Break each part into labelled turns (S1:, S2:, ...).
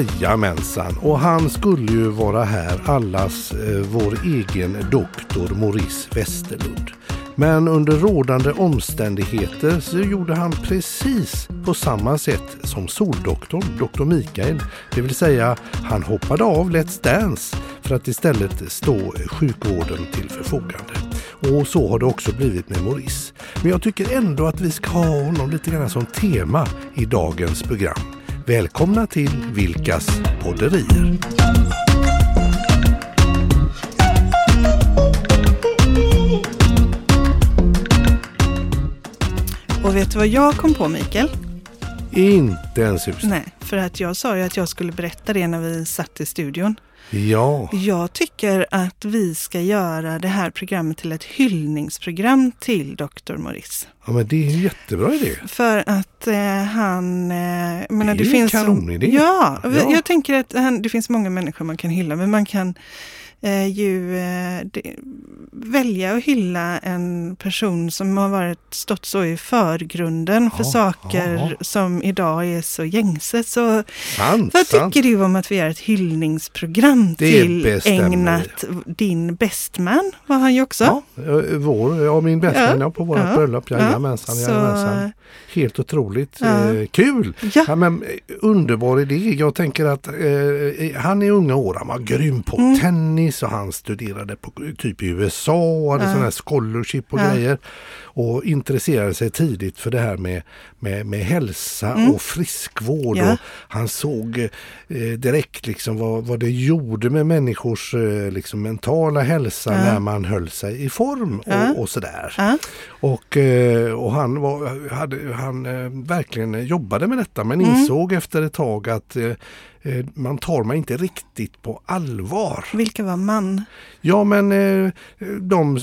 S1: Jajamensan, och han skulle ju vara här allas eh, vår egen doktor Maurice Westerlund. Men under rådande omständigheter så gjorde han precis på samma sätt som Soldoktorn, Dr. Mikael. Det vill säga, han hoppade av Let's Dance för att istället stå sjukvården till förfogande. Och så har det också blivit med Maurice. Men jag tycker ändå att vi ska ha honom lite grann som tema i dagens program. Välkomna till Vilkas podderier.
S2: Och vet du vad jag kom på Mikael?
S1: Inte ens hus.
S2: Nej, för att jag sa ju att jag skulle berätta det när vi satt i studion.
S1: Ja,
S2: Jag tycker att vi ska göra det här programmet till ett hyllningsprogram till Dr. Morris.
S1: ja, men det är en jättebra idé.
S2: För att eh, han... Eh, jag menar,
S1: Det är en
S2: finns
S1: kanonidé.
S2: Ja, v-
S1: Ja.
S2: jag tänker att han, det finns många människor man kan hylla, men man kan eh, ju eh, det, välja att hylla en person som har varit, stått så i förgrunden
S1: Ja,
S2: för saker
S1: ja, ja.
S2: som idag är så gängse. Så
S1: Sant,
S2: vad
S1: sant.
S2: tycker du om att vi gör ett hyllningsprogram
S1: Det
S2: till
S1: bestämmer vi.
S2: ägnat din bestman, var han ju också.
S1: Ja, eh, vår, ja, min bästa
S2: Ja,
S1: vän på vårt
S2: ja,
S1: bröllop.
S2: ja.
S1: Jajamensan,
S2: Så-
S1: jajamensan. Helt otroligt
S2: Ja.
S1: eh, kul!
S2: Ja.
S1: Ja, men, eh, underbar idé. Jag tänker att eh, eh, han i unga år, han var grym på
S2: Mm.
S1: tennis och han studerade på, typ i USA och hade sådana här scholarship och
S2: Ja.
S1: grejer. Och intresserade sig tidigt för det här med, med, med hälsa och friskvård.
S2: Mm. Ja.
S1: Och han såg eh, direkt liksom vad, vad det gjorde med människors eh, liksom mentala hälsa när man höll sig i form och,
S2: Ja.
S1: och sådär.
S2: Ja.
S1: Och, eh, och han, var, hade, han eh, verkligen jobbade med detta
S2: Mm.
S1: men insåg efter ett tag att eh, eh, man tar mig inte riktigt på allvar.
S2: Vilka var man?
S1: Ja men eh, de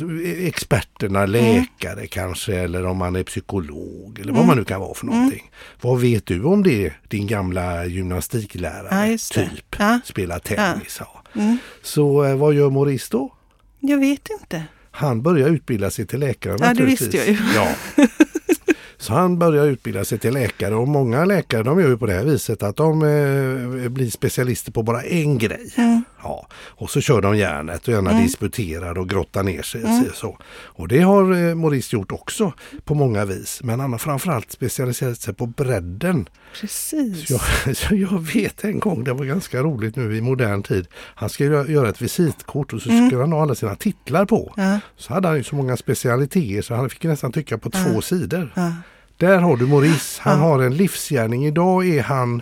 S1: experterna,
S2: Mm.
S1: läkare kanske eller om man är psykolog eller
S2: Mm.
S1: vad man nu kan vara för någonting. Vad vet du om det, din gamla
S2: Ja,
S1: gymnastiklärare
S2: just det.
S1: typ,
S2: Ja. Mm.
S1: spelar tennis. Ja. Så eh, vad gör Maurice då?
S2: Jag vet inte.
S1: Han började utbilda sig till läkare
S2: Ja, det
S1: naturligtvis.
S2: visste jag ju.
S1: Ja. Så han började utbilda sig till läkare och många läkare de gör ju på det här viset att de eh, blir specialister på bara en grej. Ja. Och så kör de järnet och gärna disputerar och grottar ner sig. Så. Och det har eh, Maurice gjort också på många vis. Men han har framförallt specialiserat sig på bredden.
S2: Precis.
S1: Så jag, så jag vet en gång, det var ganska roligt nu i modern tid. Han skulle gö- göra ett visitkort och så skulle han ha alla sina titlar på.
S2: Mm. Ja.
S1: Så hade han ju så många specialiteter så han fick nästan tycka på två sidor.
S2: Ja.
S1: Där har du Maurice, han har en livsgärning. Idag är han,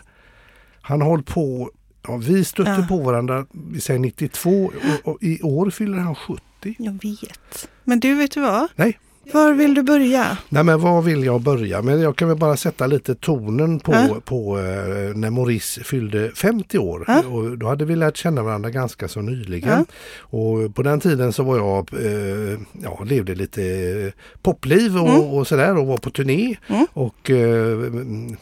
S1: han har hållit på, ja, vi stötte på varandra, vi säger 92 och, och i år fyller han 70.
S2: Jag vet. Men du, vet du vad?
S1: Nej,
S2: Var vill du börja?
S1: Nej men var vill jag börja? Men jag kan väl bara sätta lite tonen på,
S2: Ja.
S1: på eh, när Maurice fyllde 50 år.
S2: Ja.
S1: Och då hade vi lärt känna varandra ganska så nyligen.
S2: Ja.
S1: Och på den tiden så var jag, eh, ja, levde lite popliv och,
S2: Mm.
S1: och sådär och var på turné. Och eh, mm,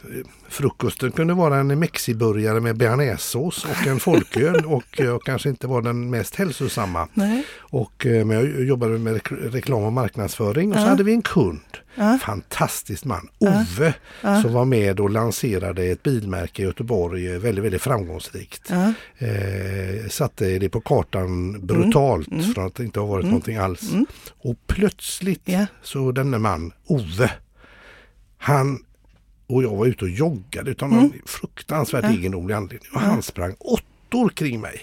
S1: frukosten kunde vara en mexiburgare med bearnaisesås och en folköl och jag kanske inte var den mest hälsosamma.
S2: Nej.
S1: Och, eh, men jag jobbade med rek- reklam och marknadsföring och så
S2: Ja.
S1: hade vi en kund.
S2: Ja.
S1: Fantastisk man, Ove, som var med och lanserade ett bilmärke i Göteborg, eh, väldigt, väldigt framgångsrikt.
S2: Ja. Mm.
S1: Eh, satte det på kartan brutalt från att det inte har varit någonting alls. Och plötsligt
S2: Ja.
S1: så denne man, Ove, han och jag var ute och joggade utan någon
S2: Mm.
S1: fruktansvärt egendomlig anledning. Och han sprang åttor kring mig.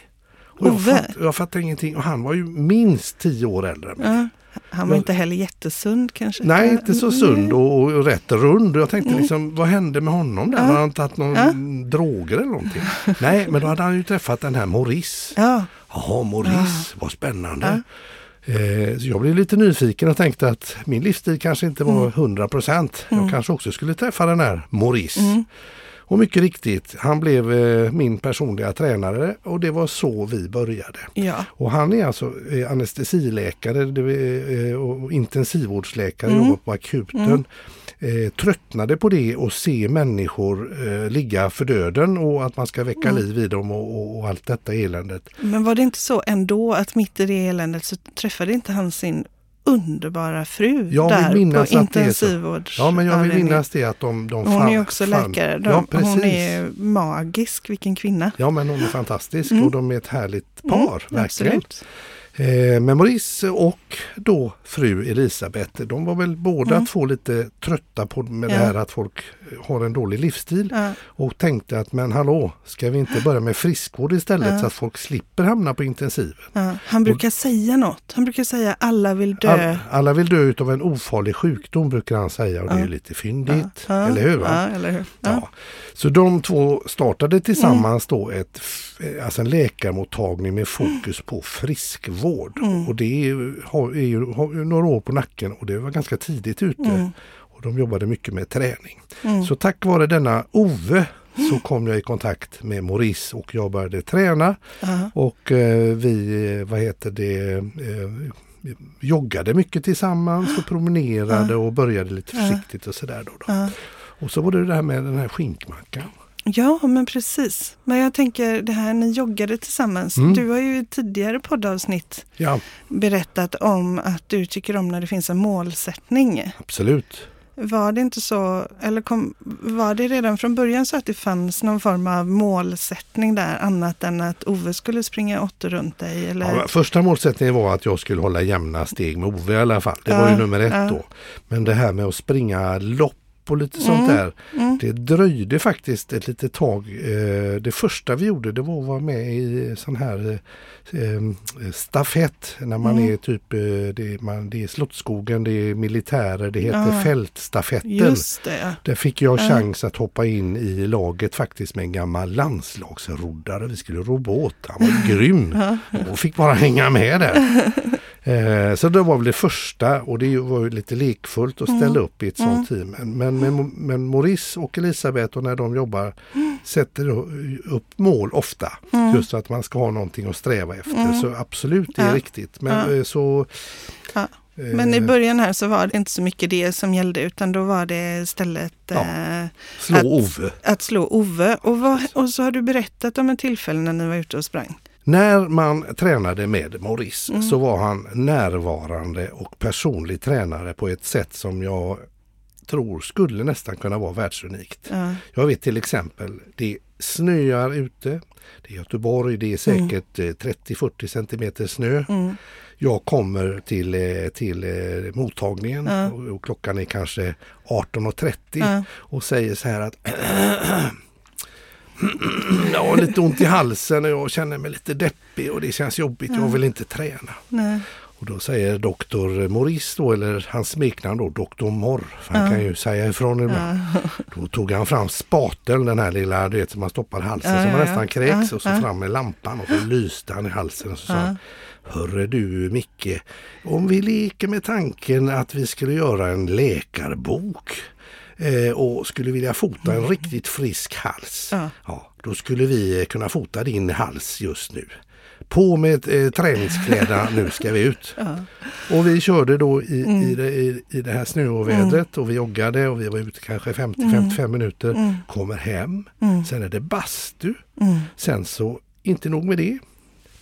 S1: Och jag,
S2: Ove?
S1: fatt, jag fattade ingenting och han var ju minst tio år äldre än mig.
S2: Ja. Han var inte heller jättesund kanske? Mm.
S1: Nej, inte så sund och, och rätt rund. Och Jag tänkte liksom, vad hände med honom där? Har han tagit någon droger eller någonting? Nej, men då hade han ju träffat den här Maurice.
S2: Ja.
S1: Jaha, Maurice, vad spännande. Eh, så jag blev lite nyfiken och tänkte att min livsstil kanske inte var 100 procent. Jag kanske också skulle träffa den här Maurice. Och mycket riktigt, han blev eh, min personliga tränare och det var så vi började.
S2: Ja.
S1: Och han är alltså eh, anestesiläkare det vill, eh, och intensivvårdsläkare, jobbar på akuten. Eh, tröttnade på det och se människor eh, ligga för döden och att man ska väcka liv i dem och, och, och allt detta eländet.
S2: Men var det inte så ändå att mitt i det eländet så träffade inte han sin underbara fru
S1: Jag vill
S2: där
S1: minnas
S2: på
S1: att det är så.
S2: intensivvårdsavdelningen.
S1: Ja, men jag vill minnas det att de, de
S2: Hon
S1: fan-
S2: är också
S1: fan-
S2: läkare. De,
S1: ja, precis.
S2: hon är magisk, vilken kvinna.
S1: Ja, men hon är fantastisk och de är ett härligt par,
S2: Mm,
S1: verkligen.
S2: Absolut.
S1: Eh, men Maurice och då fru Elisabeth, de var väl båda
S2: Mm.
S1: två lite trötta på med
S2: Ja.
S1: det här att folk har en dålig livsstil.
S2: Ja.
S1: Och tänkte att men hallå, ska vi inte börja med friskvård istället
S2: Ja.
S1: så att folk slipper hamna på intensiven?
S2: Ja, han brukar säga något. Han brukar säga alla vill dö.
S1: All, alla vill dö utav en ofarlig sjukdom brukar han säga och det är ju lite fyndigt,
S2: Ja,
S1: eller hur? Va?
S2: Ja, eller hur? Ja.
S1: Ja. Så de två startade tillsammans då ett, f- alltså en läkarmottagning med fokus på friskvård. Och det är ju, har, är ju, har ju några år på nacken och det var ganska tidigt ute. Och de jobbade mycket med träning.
S2: Mm.
S1: Så tack vare denna Ove så kom jag i kontakt med Maurice och jag började träna.
S2: Ja.
S1: Och eh, vi, eh, vad heter det, eh, joggade mycket tillsammans och promenerade och började lite försiktigt och sådär. Då då.
S2: Ja.
S1: Och så var det det här med den här skinkmackan.
S2: Ja, men precis. Men jag tänker det här ni joggade tillsammans.
S1: Mm.
S2: Du har ju i tidigare poddavsnitt
S1: Ja,
S2: berättat om att du tycker om när det finns en målsättning.
S1: absolut.
S2: Var det inte så, eller kom, var det redan från början så att det fanns någon form av målsättning där annat än att Ove skulle springa åtta runt dig? Eller?
S1: Ja, första målsättningen var att jag skulle hålla jämna steg med Ove i alla fall. Det
S2: Ja,
S1: var ju nummer ett
S2: ja.
S1: då. Men det här med att springa lopp och lite sånt
S2: Mm.
S1: där. Det dröjde faktiskt ett litet tag. Eh, Det första vi gjorde det var att vara med i sån här eh, eh, stafett. När man
S2: Mm.
S1: är typ, eh, det är, man, det är Slottsskogen, det är militärer, det heter
S2: Ja.
S1: fältstafetten.
S2: Just det, ja.
S1: Där fick jag chans att hoppa in i laget faktiskt med en gammal landslagsroddare. Vi skulle ro båt. Han var grym och fick bara hänga med där. Eh, Så det var väl det första och det var ju lite lekfullt att ställa
S2: Mm.
S1: upp i ett sånt team. Men, men, men, men Maurice och Elisabeth och när de jobbar
S2: Mm.
S1: sätter då upp mål ofta. Just så att man ska ha någonting att sträva efter. Så absolut, det är
S2: Mm. Ja.
S1: riktigt. Men eh, så...
S2: Ja.
S1: eh,
S2: Men i början här så var det inte så mycket det som gällde utan då var det istället
S1: Ja.
S2: eh,
S1: Slå
S2: att-
S1: Ove.
S2: att slå Ove. Och, vad, och så har du berättat om ett tillfälle när ni var ute och sprang.
S1: När man tränade med Maurice så var han närvarande och personlig tränare på ett sätt som jag tror skulle nästan kunna vara världsunikt.
S2: Ja.
S1: Jag vet till exempel, det snöar ute. Det är Göteborg, det är säkert eh, 30-40 centimeter snö. Jag kommer till, eh, till eh, mottagningen och, och klockan är kanske 18.30 och säger så här att jag har lite ont i halsen och jag känner mig lite deppig och det känns jobbigt. Jag vill inte träna.
S2: Nej.
S1: Och då säger doktor Maurice då, eller hans smeknamn då, doktor Morr. För han kan ju säga ifrån ibland. Då tog han fram spateln, den här lilla du vet som man stoppar i halsen
S2: Ja,
S1: som
S2: ja,
S1: man
S2: ja.
S1: nästan kräks.
S2: Ja,
S1: och så
S2: ja.
S1: fram med lampan och så lyste han i halsen och så sa han Hörru du Micke, om vi leker med tanken att vi skulle göra en läkarbok eh, och skulle vilja fota en riktigt frisk hals.
S2: Ja.
S1: Ja, då skulle vi eh, kunna fota din hals just nu. På med eh, träningskläderna, nu ska vi ut. Och vi körde då i, i, det, i, i det här snöovädret och vi joggade och vi var ute kanske 50-55 minuter. Kommer hem, sen är det bastu. Sen så, inte nog med det.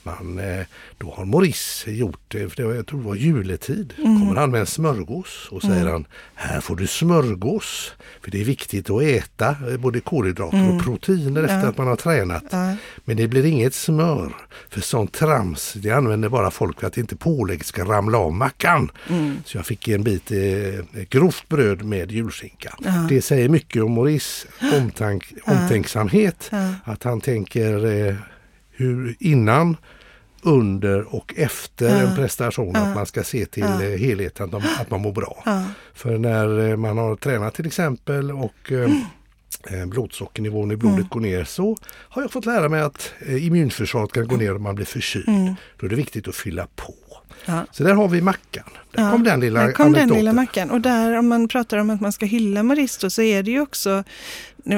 S1: Man, eh, då har Maurice gjort, det, för det var, jag tror det var juletid, kommer han med en smörgås och säger han Här får du smörgås, för det är viktigt att äta eh, både kolhydrater och proteiner efter att man har tränat.
S2: Ja.
S1: Men det blir inget smör, för sånt trams det använder bara folk för att inte pålägg ska ramla av mackan. Så jag fick en bit eh, grovt bröd med julskinka. Det säger mycket om Maurice omtank, omtänksamhet, att han tänker eh, hur innan under och efter en prestation att man ska se till eh, helheten, att, de, att man mår bra. För när eh, man har tränat till exempel och eh,
S2: Mm.
S1: eh, blodsockernivån i blodet går ner så har jag fått lära mig att eh, immunförsvaret kan gå ner om man blir förkyld. Då är det viktigt att fylla på.
S2: Mm. Ja.
S1: Så där har vi mackan. Där
S2: Ja,
S1: kom den lilla
S2: Där kom den
S1: anekdoten.
S2: lilla mackan. Och där om man pratar om att man ska hylla Maristo så är det ju också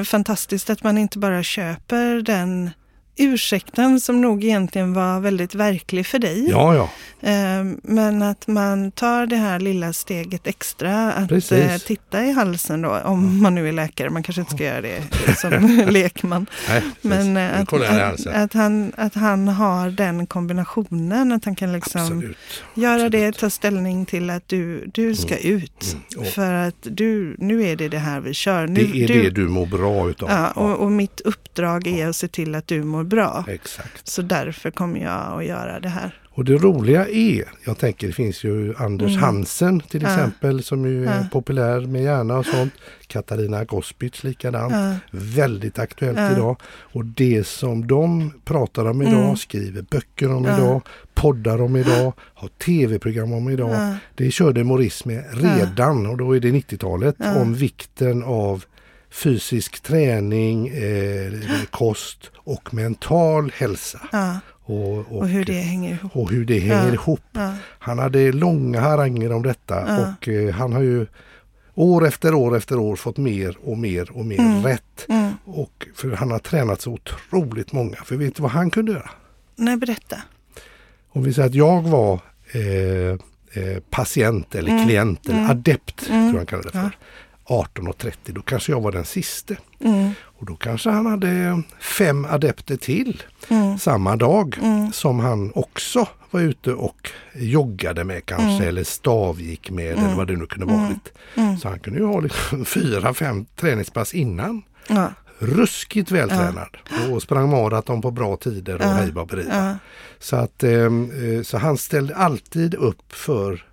S2: fantastiskt att man inte bara köper den ursäkten som nog egentligen var väldigt verklig för dig.
S1: Ja, ja.
S2: Eh, Men att man tar det här lilla steget extra att
S1: Precis.
S2: eh, titta i halsen då, om man nu är läkare. Man kanske inte ska göra det som lekman.
S1: Nej, precis.
S2: Men eh,
S1: Nu
S2: att,
S1: kollar jag alltså. det här
S2: att,
S1: sen.
S2: att, han, att han har den kombinationen, att han kan liksom
S1: Absolut.
S2: göra det,
S1: absolut. Mm.
S2: ta ställning till att du, du ska ut.
S1: Och
S2: För att du, nu är det det här vi kör. Nu,
S1: det är det du mår bra utav.
S2: ja, och, och mitt uppdrag är att se till att du mår bra.
S1: Ja, Exakt.
S2: Så därför kommer jag att göra det här.
S1: Och det roliga är, jag tänker det finns ju Anders
S2: Mm.
S1: Hansen till
S2: Ja.
S1: exempel som ju är
S2: Ja.
S1: populär med hjärna och sånt. Katarina Gospic likadant.
S2: Ja.
S1: Väldigt aktuellt
S2: Ja.
S1: idag. Och det som de pratar om idag,
S2: Mm.
S1: skriver böcker om
S2: Ja.
S1: idag, poddar om idag, har tv-program om idag.
S2: Ja.
S1: Det körde Morris med redan och då är det 90-talet
S2: Ja.
S1: om vikten av fysisk träning, eh, kost och mental hälsa.
S2: Ja,
S1: Och,
S2: och hur det hänger ihop.
S1: och hur det hänger
S2: Ja.
S1: ihop.
S2: Ja,
S1: Han hade långa haranger om detta
S2: Ja.
S1: och eh, han har ju år efter år efter år fått mer och mer och mer
S2: Mm.
S1: rätt.
S2: mm.
S1: Och för han har tränat så otroligt många. För vet du vad han kunde göra?
S2: Nej, berätta.
S1: Om vi säger att jag var eh, eh, patient eller
S2: Mm.
S1: klient eller
S2: Mm.
S1: adept,
S2: Mm.
S1: tror jag han kallar det för. 18.30, då kanske jag var den siste.
S2: Mm,
S1: Och då kanske han hade fem adepter till
S2: mm,
S1: samma dag.
S2: mm,
S1: som han också var ute och joggade med kanske
S2: Mm.
S1: eller stavgick med eller
S2: Mm.
S1: vad det nu kunde
S2: Mm.
S1: varit.
S2: mm.
S1: Så han kunde ju ha liksom fyra, fem träningspass innan.
S2: Ja,
S1: Ruskigt vältränad och sprang maraton på bra tider och
S2: Ja.
S1: hej baberiba.
S2: ja,
S1: Så, att, ehm, eh, så han ställde alltid upp för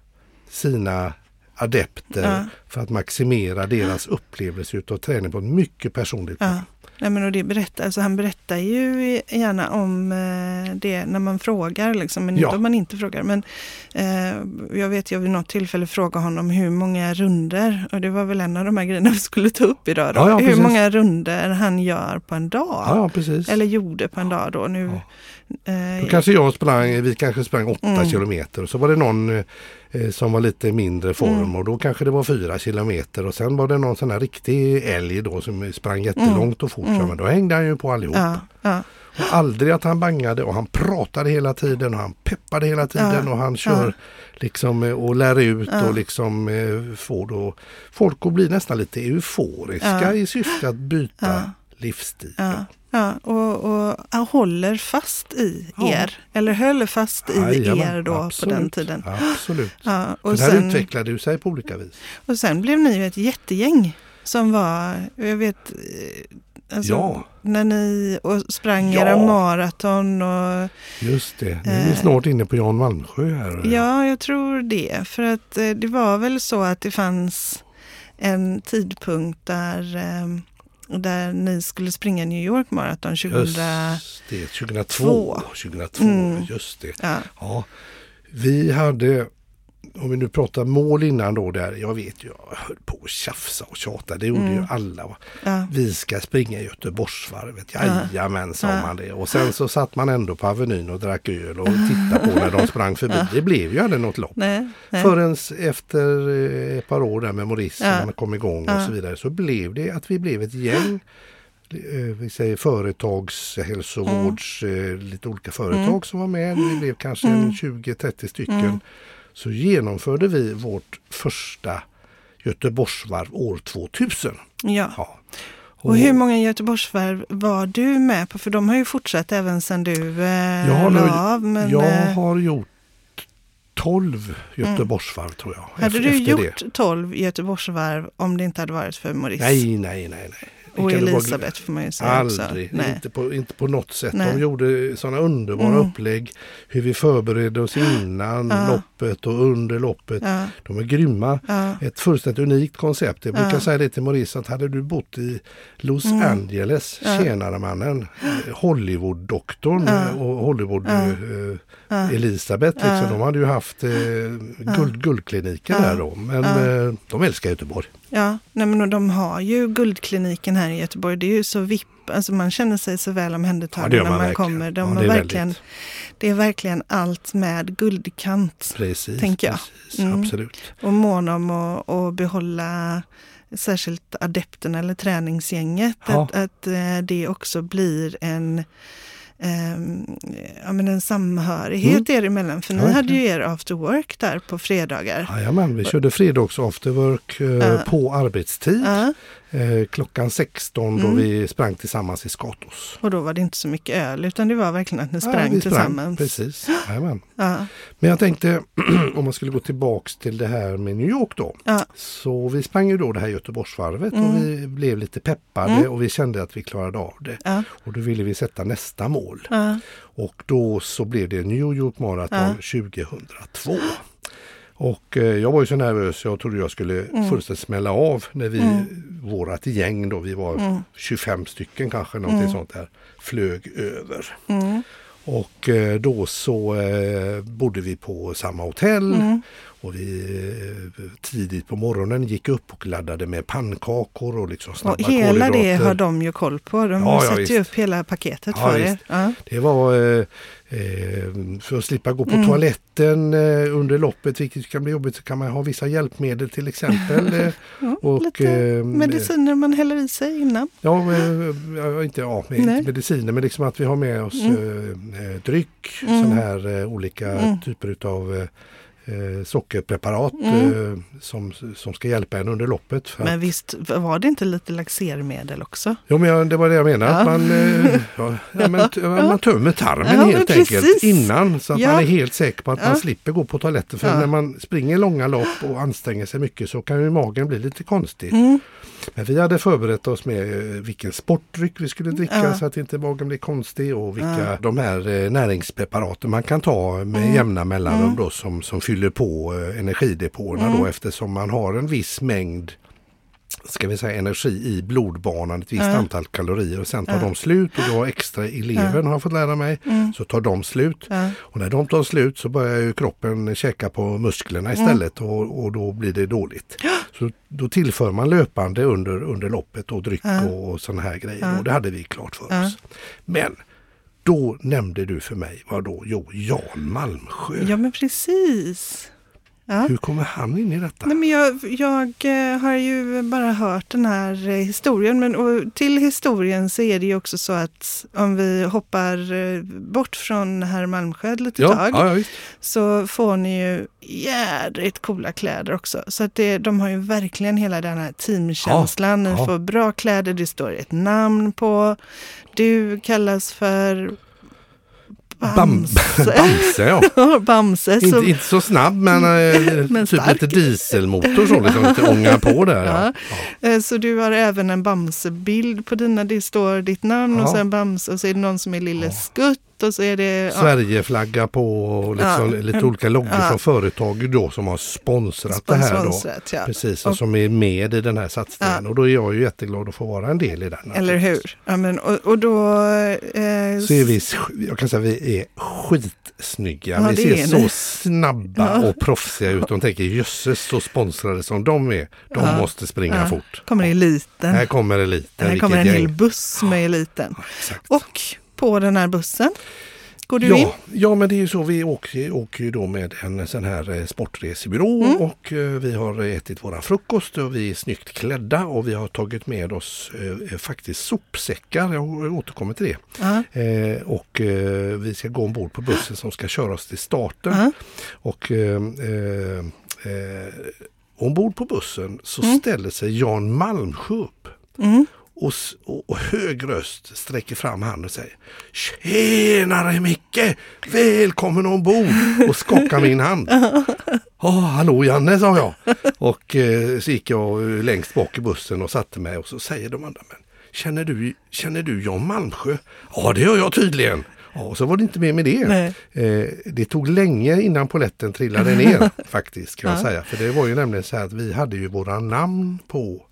S1: sina adepter
S2: Ja.
S1: för att maximera deras upplevelse utav träning på ett mycket personligt plan.
S2: ja. Nej, men och det berättar, alltså han berättar ju gärna om eh, det när man frågar, liksom, men
S1: Ja.
S2: inte om man inte frågar. Men eh, jag vet, jag vid något tillfälle frågade honom hur många runder och det var väl en av de här grejerna vi skulle ta upp idag. Då.
S1: Ja, ja, precis.
S2: hur många runder han gör på en dag.
S1: Ja, ja precis.
S2: Eller gjorde på en dag då. Nu,
S1: Då
S2: eh,
S1: kanske jag sprang, vi kanske sprang 8
S2: Mm.
S1: kilometer och så var det någon eh, som var lite mindre form
S2: Mm.
S1: och då kanske det var 4 kilometer och sen var det någon sån här riktig älg då som sprang jättelångt och fort.
S2: Mm.
S1: Ja, Men då hängde han ju på allihop.
S2: ja, ja,
S1: Och aldrig att han bangade och han pratade hela tiden och han peppade hela tiden
S2: Ja.
S1: och han kör
S2: Ja.
S1: liksom eh, och lär ut
S2: Ja.
S1: och liksom eh, får då folk att bli nästan lite euforiska
S2: Ja.
S1: i syfte att byta
S2: Ja.
S1: livsstil.
S2: ja, ja. Och, och han håller fast i
S1: Ja.
S2: er. Eller höll fast i
S1: Jajamän,
S2: er då
S1: absolut.
S2: på den tiden.
S1: Absolut.
S2: Ja,
S1: Och
S2: och,
S1: det här
S2: sen,
S1: utvecklade ju sig på olika vis.
S2: och sen blev ni ju ett jättegäng som var, jag vet, eh, alltså,
S1: Ja.
S2: när ni och sprang
S1: Ja. Mm.
S2: era maraton och
S1: Just det, nu är vi
S2: Eh.
S1: snart inne på Jan Malmsjö här.
S2: ja, jag tror det. För att eh, det var väl så att det fanns en tidpunkt där, ehm, där ni skulle springa New York Marathon 2000.
S1: just det, 2002. 2002
S2: Mm.
S1: Just det.
S2: Ja,
S1: Ja. Vi hade, om vi nu pratar mål innan då, där, jag vet ju, jag höll på att tjafsa och tjata, det gjorde ju alla. va.
S2: Mm. ja,
S1: Vi ska springa Göteborgsvarvet, jajamän sa
S2: Ja.
S1: man det. Och sen så satt man ändå på Avenyn och drack öl och tittade på när de sprang förbi. Det blev ju aldrig något lopp.
S2: nej, nej.
S1: Förrän efter eh, ett par år där med Maurice
S2: Ja.
S1: när man kom igång och
S2: Ja.
S1: så vidare så blev det att vi blev ett gäng. eh, Vi säger företagshälsovårds, eh,
S2: Mm.
S1: lite olika företag som var med. Vi blev kanske en 20-30 stycken.
S2: Mm.
S1: Så genomförde vi vårt första Göteborgsvarv år 2000.
S2: Ja.
S1: Ja.
S2: Och hur många Göteborgsvarv var du med på? För de har ju fortsatt även sedan du eh,
S1: Jag har
S2: la
S1: nog-
S2: av. Men,
S1: jag
S2: eh, Mm.
S1: har gjort 12 Göteborgsvarv tror jag.
S2: hade
S1: ef-
S2: du
S1: efter det.
S2: gjort 12 Göteborgsvarv om det inte hade varit för Maurice?
S1: Nej, nej, nej. nej. Det
S2: och
S1: kan du vara glad-
S2: Elisabeth får man ju säga
S1: Aldrig,
S2: också. Nej.
S1: Inte, på, inte på något sätt.
S2: Nej.
S1: De gjorde sådana underbara
S2: Mm.
S1: upplägg. Hur vi förberedde oss innan
S2: Ja.
S1: loppet och under loppet.
S2: Ja,
S1: De är grymma.
S2: ja,
S1: Ett fullständigt unikt koncept. Jag brukar
S2: Ja. Mm.
S1: säga det till Maurice att hade du bott i Los Angeles,
S2: Ja.
S1: tjänaremannen, eh, Hollywood-doktorn
S2: Ja.
S1: eh, och Hollywood
S2: Ja.
S1: eh,
S2: ja.
S1: Elisabeth,
S2: Ja.
S1: liksom, de hade ju haft eh, guld, guldkliniker
S2: Ja.
S1: där då. Men
S2: Ja.
S1: eh, de älskar Göteborg.
S2: ja. Nej, men och de har ju Guldkliniken här i Göteborg. Det är ju så vipp. Alltså man känner sig så väl
S1: Ja,
S2: omhändertagen
S1: det gör
S2: när
S1: man
S2: man
S1: verkligen.
S2: kommer. De
S1: Ja,
S2: har
S1: det är
S2: verkligen,
S1: väldigt.
S2: det är verkligen allt med guldkant.
S1: Precis,
S2: tänker jag.
S1: precis
S2: Mm.
S1: absolut.
S2: och mån om att, att behålla särskilt adepten eller träningsgänget.
S1: Ja.
S2: Att, att eh, det också blir en eh, ja, men en samhörighet er emellan. För ni
S1: Mm. Ja,
S2: hade ju er after work där på fredagar.
S1: Jajamän, vi körde fredags afterwork eh,
S2: Ja.
S1: på arbetstid.
S2: Ja,
S1: Eh, klockan 16 då
S2: Mm.
S1: vi sprang tillsammans i Skatos.
S2: och då var det inte så mycket öl utan det var verkligen att ni
S1: Ja, vi
S2: sprang tillsammans.
S1: Precis, jajamän.
S2: Ja,
S1: Men jag tänkte om man skulle gå tillbaks till det här med New York då.
S2: ja, Mm.
S1: Så vi sprang ju då det här Göteborgsvarvet och vi blev lite peppade och vi kände att vi klarade av det.
S2: ja,
S1: Och då ville vi sätta nästa mål.
S2: ja.
S1: Och då så blev det New York Marathon 2002. Och eh, jag var ju så nervös, jag trodde jag skulle
S2: Mm.
S1: fullständigt smälla av när vi, vårat gäng då, vi var
S2: Mm.
S1: 25 stycken kanske, någonting sånt där, flög över.
S2: Mm.
S1: Och eh, då så eh, bodde vi på samma hotell
S2: Mm.
S1: och vi eh, tidigt på morgonen gick upp och laddade med pannkakor och liksom snabba
S2: Och hela det
S1: kolhydrater.
S2: har de ju koll på. De
S1: Ja, ja,
S2: sätter ju
S1: visst.
S2: upp hela paketet
S1: Ja,
S2: för er.
S1: visst.
S2: Ja.
S1: Det var eh, eh, för att slippa gå på
S2: Mm.
S1: toaletten eh, under loppet, vilket kan bli jobbigt, så kan man ha vissa hjälpmedel till exempel. Eh, och,
S2: lite
S1: eh,
S2: Mediciner man häller i sig innan.
S1: Ja, eh, ja, inte, ja, med-
S2: Nej. Mm.
S1: inte mediciner, men liksom att vi har med oss eh, eh, dryck, sån här eh, olika typer utav eh, eh, sockerpreparat
S2: Mm.
S1: eh, som, som ska hjälpa en under loppet. För
S2: Men visst var det inte lite laxermedel också?
S1: Jo, men jag, det var det jag menade.
S2: Ja.
S1: Att man, eh, ja, ja, men, t- man tömmer tarmen
S2: Ja,
S1: helt
S2: men precis.
S1: enkelt innan. Så att
S2: Ja.
S1: man är helt säker på att
S2: Ja.
S1: man slipper gå på toaletten. För
S2: Ja.
S1: när man springer långa lopp och anstränger sig mycket så kan ju magen bli lite konstig.
S2: Mm.
S1: Men vi hade förberett oss med eh, vilken sportdryck vi skulle dricka
S2: Ja.
S1: så att inte magen blir konstig och vilka de här eh, näringspreparaten man kan ta med
S2: Mm.
S1: jämna mellanrum då som, som fyller på eh, energidepåerna
S2: Mm.
S1: då eftersom man har en viss mängd ska vi säga energi i blodbanan, ett visst antal kalorier och sen tar de slut och då extra i levern har jag fått lära mig,
S2: Mm.
S1: så tar de slut. Och när de tar slut så börjar ju kroppen käka på musklerna istället och, och då blir det dåligt. Så då tillför man löpande under, under loppet och dryck och, och sådana här grejer och det hade vi klart för oss. Men då nämnde du för mig, vad då? Jo, Jan Malmsjö.
S2: Ja, men precis. Ja.
S1: Hur kommer han in i detta?
S2: Nej, men jag, jag eh, har ju bara hört den här eh, historien, men och till historien så är det ju också så att om vi hoppar eh, bort från herr Malmsjö ett litet
S1: ja,
S2: tag
S1: ja, ja, visst.
S2: så får ni ju jädrigt coola kläder också. Så att det, de har ju verkligen hela den här teamkänslan.
S1: Ja,
S2: ni
S1: ja.
S2: får bra kläder, det står ett namn på. Du kallas för
S1: Bam,
S2: Bamse.
S1: Bamse, ja.
S2: Bamse.
S1: Inte,
S2: så-
S1: inte så snabb men, eh,
S2: Men
S1: typ
S2: stark.
S1: lite dieselmotor så liksom, lite ånga på där. Ja.
S2: Eh, Så du har även en Bamse-bild på dina. Det står ditt namn och
S1: Ja.
S2: sen Bamse och så är det någon som är Lille Skutt och så är det... ja,
S1: Sverigeflagga på och liksom,
S2: Ja.
S1: lite olika loggor
S2: Ja.
S1: från företag då som har sponsrat det här då.
S2: Sponsrat, ja.
S1: Precis, och
S2: Och-
S1: som är med i den här satsningen.
S2: Ja.
S1: Och då är jag ju jätteglad att få vara en del i den.
S2: Eller hur? Ja, men, och, och då... Eh,
S1: Så är vi, sk- jag kan säga vi är skitsnygga.
S2: Ja,
S1: vi
S2: det
S1: ser
S2: är
S1: så
S2: ni.
S1: snabba och proffsiga ut. De tänker jösses så sponsrade som de är. De
S2: Ja.
S1: måste springa
S2: ja,
S1: fort.
S2: kommer eliten.
S1: Här kommer eliten.
S2: Här
S1: vilket
S2: kommer en
S1: gäng.
S2: hel buss med eliten.
S1: Exakt.
S2: Och på den här bussen går du
S1: ja,
S2: in.
S1: Ja, men det är ju så. Vi åker, åker ju då med en sån här eh, sportresebyrå
S2: Mm.
S1: och eh, vi har ätit våra frukost och vi är snyggt klädda och vi har tagit med oss eh, faktiskt sopsäckar. Jag återkommer till det.
S2: Ja,
S1: Eh, och eh, vi ska gå ombord på bussen som ska köra oss till starten.
S2: Ja.
S1: Och eh, eh, eh, ombord på bussen så
S2: Mm.
S1: ställer sig Jan Malmsjö upp. Och, s- och, och hög röst sträcker fram handen och säger Tjenare Micke! Välkommen ombord! Och skakar min hand. Ja, hallå Janne sa jag. Och eh, så gick jag eh, längst bak i bussen och satte mig och så säger de andra men Känner du, känner du Jan Malmsjö? Ja, det gör jag tydligen. Ja, och så var det inte mer med det.
S2: Nej.
S1: Eh, det tog länge innan poletten trillade ner faktiskt kan jag säga. För det var ju nämligen så här att vi hade ju våra namn på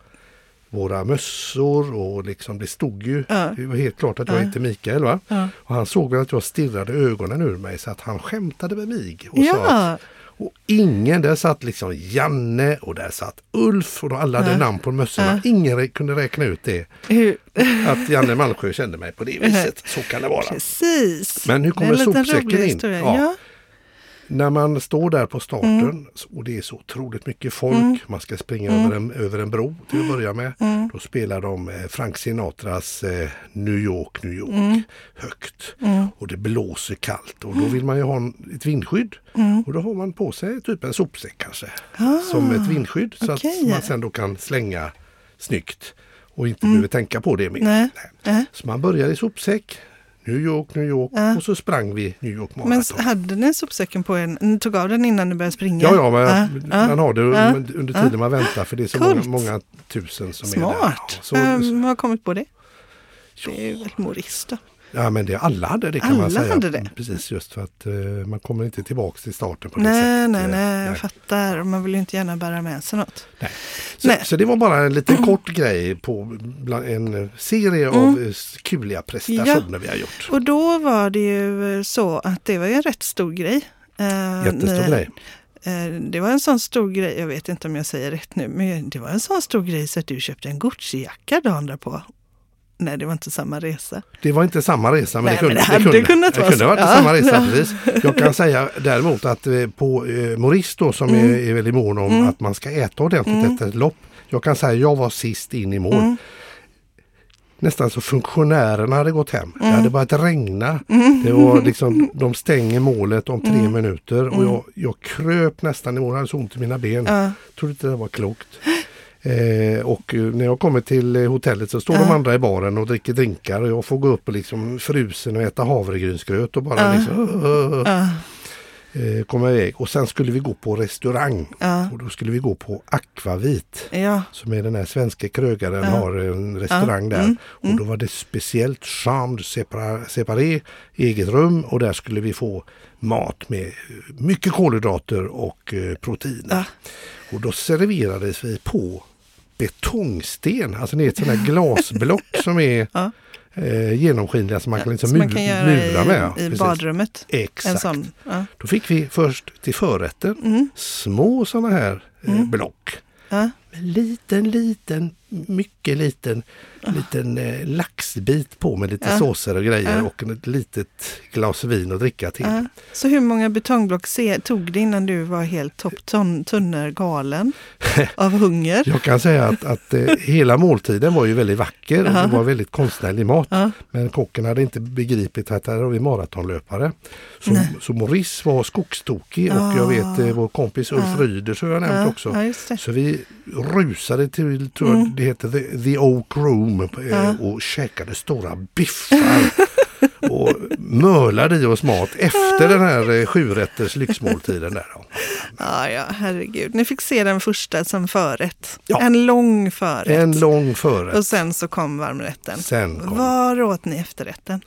S1: våra mössor och liksom det stod ju,
S2: Ja.
S1: det var helt klart att jag hette Mikael va?
S2: Ja.
S1: Och han såg väl att jag stirrade ögonen ur mig så att han skämtade med mig och sa att
S2: ja.
S1: och ingen, där satt liksom Janne och där satt Ulf och de alla hade namn på mössorna. Ingen rä- kunde räkna ut det.
S2: Hur,
S1: Att Janne Malmsjö kände mig på det viset. Så kan det vara.
S2: precis.
S1: Men hur
S2: Det är
S1: kommer
S2: en liten
S1: sopsäcken
S2: rolig
S1: in?
S2: historia.
S1: Ja.
S2: Ja.
S1: När man står där på starten
S2: Mm.
S1: så- och det är så otroligt mycket folk. Man ska springa över,
S2: Mm.
S1: en, över en bro till att börja med.
S2: Mm.
S1: Då spelar de eh, Frank Sinatras eh, New York, New York högt. och det blåser kallt och då vill man ju ha en, ett vindskydd. Och då har man på sig typ en sopsäck kanske
S2: Mm. Ah,
S1: som ett vindskydd så
S2: okej.
S1: att man sen då kan slänga snyggt och inte behöver tänka på det mer.
S2: Mm. Nej. Nej. Ah.
S1: Så man började i sopsäck, New York, New York och så sprang vi New York
S2: Men
S1: Marathon.
S2: s- hade ni sopsäcken på er? Ni tog av den innan ni började springa?
S1: Ja, ja, men
S2: Ah,
S1: man
S2: ah.
S1: har det
S2: ja,
S1: under under tiden man väntar för det är så många,
S2: Coolt.
S1: många tusen som är där.
S2: Smart!
S1: Ja,
S2: Vem har
S1: Så,
S2: kommit på det? Det är ju väl Morris då.
S1: ja, men det, alla hade det kan
S2: Alla
S1: man säga.
S2: hade det.
S1: Precis, just för att eh, man kommer inte tillbaks till starten på det
S2: Nej,
S1: sättet.
S2: nej,
S1: Eh,
S2: nej, jag fattar. Och Man vill ju inte gärna bära med sig något.
S1: nej. Så,
S2: Nej.
S1: så det var bara en liten kort grej på bland, en serie
S2: Mm.
S1: av eh, kuliga prestationer vi har gjort.
S2: Och då var det ju eh, så att det var ju en rätt stor grej. Eh,
S1: Jättestor
S2: ni-
S1: grej.
S2: eh, Det var en sån stor grej, jag vet inte om jag säger rätt nu, men det var en sån stor grej så att du köpte en Gucci-jacka dagen därpå. Nej, det var inte samma resa.
S1: Det var inte samma resa, men,
S2: Nej,
S1: det kunde
S2: men det hade kunnat
S1: det
S2: vara
S1: kunde
S2: så.
S1: ha varit
S2: Ja.
S1: samma resa.
S2: Ja.
S1: Precis. Jag kan säga däremot att eh, på eh, Maurice då, som
S2: Mm.
S1: är, är väldigt mån om att man ska äta ordentligt efter ett lopp. Jag kan säga jag var sist in i mål.
S2: Mm.
S1: Nästan så funktionärerna hade gått hem.
S2: Mm.
S1: Det hade börjat regna. Det var liksom, de stänger målet om tre
S2: Mm.
S1: minuter och jag, jag kröp nästan i mål. Jag hade så ont i mina ben.
S2: Ja.
S1: Trodde inte det var klokt. Eh, och eh, när jag kommer till eh, hotellet så står de andra i baren och dricker drinkar och jag får gå upp och liksom frusen och äta havregrynsgröt och bara liksom, "Åh, åh,
S2: Ja,
S1: åh", eh, komma iväg. Och sen skulle vi gå på restaurang
S2: ja,
S1: och då skulle vi gå på Akvavit
S2: ja.
S1: som är den här svenska krögaren har en restaurang där.
S2: Mm.
S1: Och då var det speciellt chambre separa- separé, eget rum och där skulle vi få mat med eh, mycket kolhydrater och eh, proteiner.
S2: ja.
S1: Och då serverades vi på betongsten, alltså det är ett sånt här glasblock som är
S2: Ja.
S1: eh, genomskinliga som man kan liksom
S2: Som man
S1: mul-
S2: kan göra
S1: mura med.
S2: i, i
S1: Precis.
S2: badrummet. En
S1: Exakt.
S2: sån. Mm. Ja.
S1: Då fick vi först till förrätten små sådana här eh,
S2: Mm.
S1: block.
S2: Ja.
S1: Med liten, liten, mycket liten, liten eh, laxbit på med lite såser och grejer och ett litet glas vin att dricka till.
S2: Ja. Så hur många betongblock se, tog det innan du var helt topptunnergalen av hunger?
S1: Jag kan säga att, att eh, hela måltiden var ju väldigt vacker och det var väldigt konstnärlig mat.
S2: Ja.
S1: Men kocken hade inte begripit att här har vi maratonlöpare. Så, så Maurice var skogstokig och jag vet eh, vår kompis Ulf Ryder som jag nämnt
S2: Ja,
S1: också.
S2: ja, just det.
S1: Så vi rusade till, tror
S2: Mm.
S1: jag, det heter The, the Oak Room eh, och käkade stora biffar. och mölade i oss mat efter den här eh, sjurätters lyxmåltiden. Där. då.
S2: Ja, ja, herregud. Ni fick se den första som förrätt.
S1: Ja.
S2: En lång förrätt.
S1: En lång förrätt.
S2: Och sen så kom varmrätten.
S1: Sen kom
S2: Var åt ni efterrätten?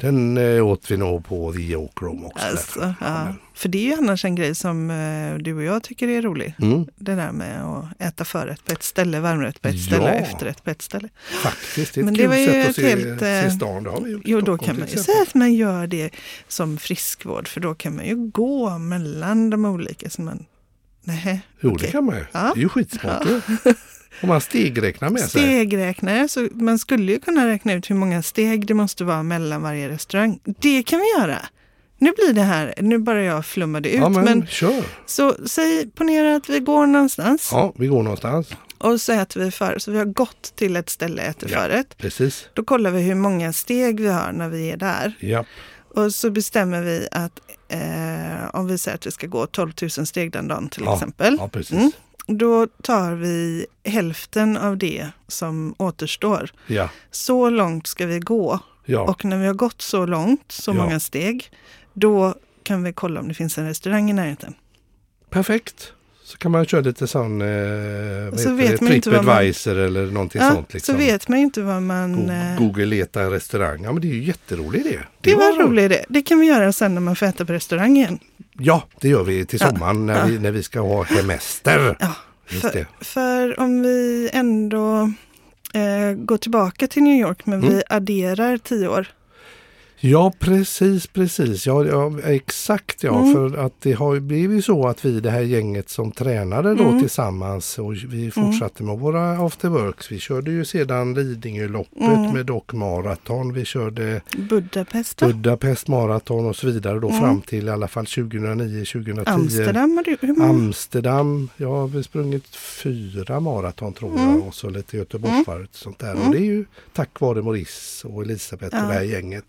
S1: Den eh, åt vi nog på The Oak Room också.
S2: Alltså,
S1: där.
S2: ja. För det är ju annars en grej som eh, du och jag tycker är rolig.
S1: Mm.
S2: Det där med att äta förrätt på ett ställe, varmrätt på ett ställe
S1: Ja.
S2: och efterrätt på ett ställe.
S1: Faktiskt, det är ett
S2: Men det
S1: kul
S2: var ju
S1: sätt att
S2: ett
S1: se,
S2: helt,
S1: se
S2: eh,
S1: stan. Det har vi gjort i
S2: Jo, då
S1: Stockholm
S2: kan
S1: till
S2: man ju
S1: exempel.
S2: säga att man gör det som friskvård, för då kan man ju gå mellan de olika. Så man... Nej,
S1: Jo,
S2: okej.
S1: det kan man ju.
S2: Ja.
S1: Det är ju skitsmart ju. Om man stegräknar med sig.
S2: Stegräknare, så man skulle ju kunna räkna ut hur många steg det måste vara mellan varje restaurang. Det kan vi göra! Nu blir det här, nu bara jag flummade ut,
S1: Ja, men,
S2: men,
S1: kör.
S2: så säg, ponera att vi går någonstans
S1: Ja, vi går någonstans.
S2: och så äter vi förrätt, så vi har gått till ett ställe och äter
S1: Ja.
S2: förrätt.
S1: Precis.
S2: Då kollar vi hur många steg vi har när vi är där.
S1: Ja.
S2: Och så bestämmer vi att eh, om vi säger att vi ska gå 12 000 steg den dagen till
S1: Ja,
S2: exempel. Mm.
S1: ja, precis.
S2: Då tar vi hälften av det som återstår.
S1: Ja.
S2: Så långt ska vi gå.
S1: Ja.
S2: Och när vi har gått så långt, så
S1: Ja.
S2: många steg, då kan vi kolla om det finns en restaurang i närheten.
S1: Perfekt. Så kan man köra lite sån eh, vad
S2: Så
S1: heter
S2: vet man
S1: det?
S2: inte vad man-
S1: TripAdvisor eller någonting
S2: Ja,
S1: sånt. Liksom.
S2: Så vet man ju inte vad man...
S1: Go-
S2: eh,
S1: Google leta en restaurang. Ja, men det är ju jätterolig idé.
S2: Det var en rolig idé. Det kan vi göra sen när man får äta på restaurang igen.
S1: Ja, det gör vi till
S2: Ja.
S1: sommaren när, vi, när vi ska ha hemester.
S2: Ja,
S1: Just
S2: för,
S1: det.
S2: för om vi ändå eh, går tillbaka till New York, men
S1: Mm.
S2: vi adderar tio år.
S1: Ja, precis, precis. Ja, ja exakt ja.
S2: Mm.
S1: För att det har ju blivit så att vi det här gänget som tränade då
S2: Mm.
S1: tillsammans och vi fortsatte med våra afterworks. Vi körde ju sedan Lidingöloppet
S2: Mm.
S1: med Dock Marathon. Vi körde
S2: Budapest, va?
S1: Budapest Marathon och så vidare då fram till i alla fall 2009-2010.
S2: Mm. Amsterdam, har du, hur många?
S1: Amsterdam, jag har väl sprungit fyra maraton tror
S2: Mm.
S1: jag och så lite Göteborgsvarvet och sånt där. Och det är ju tack vare Maurice och Elisabeth och det här gänget.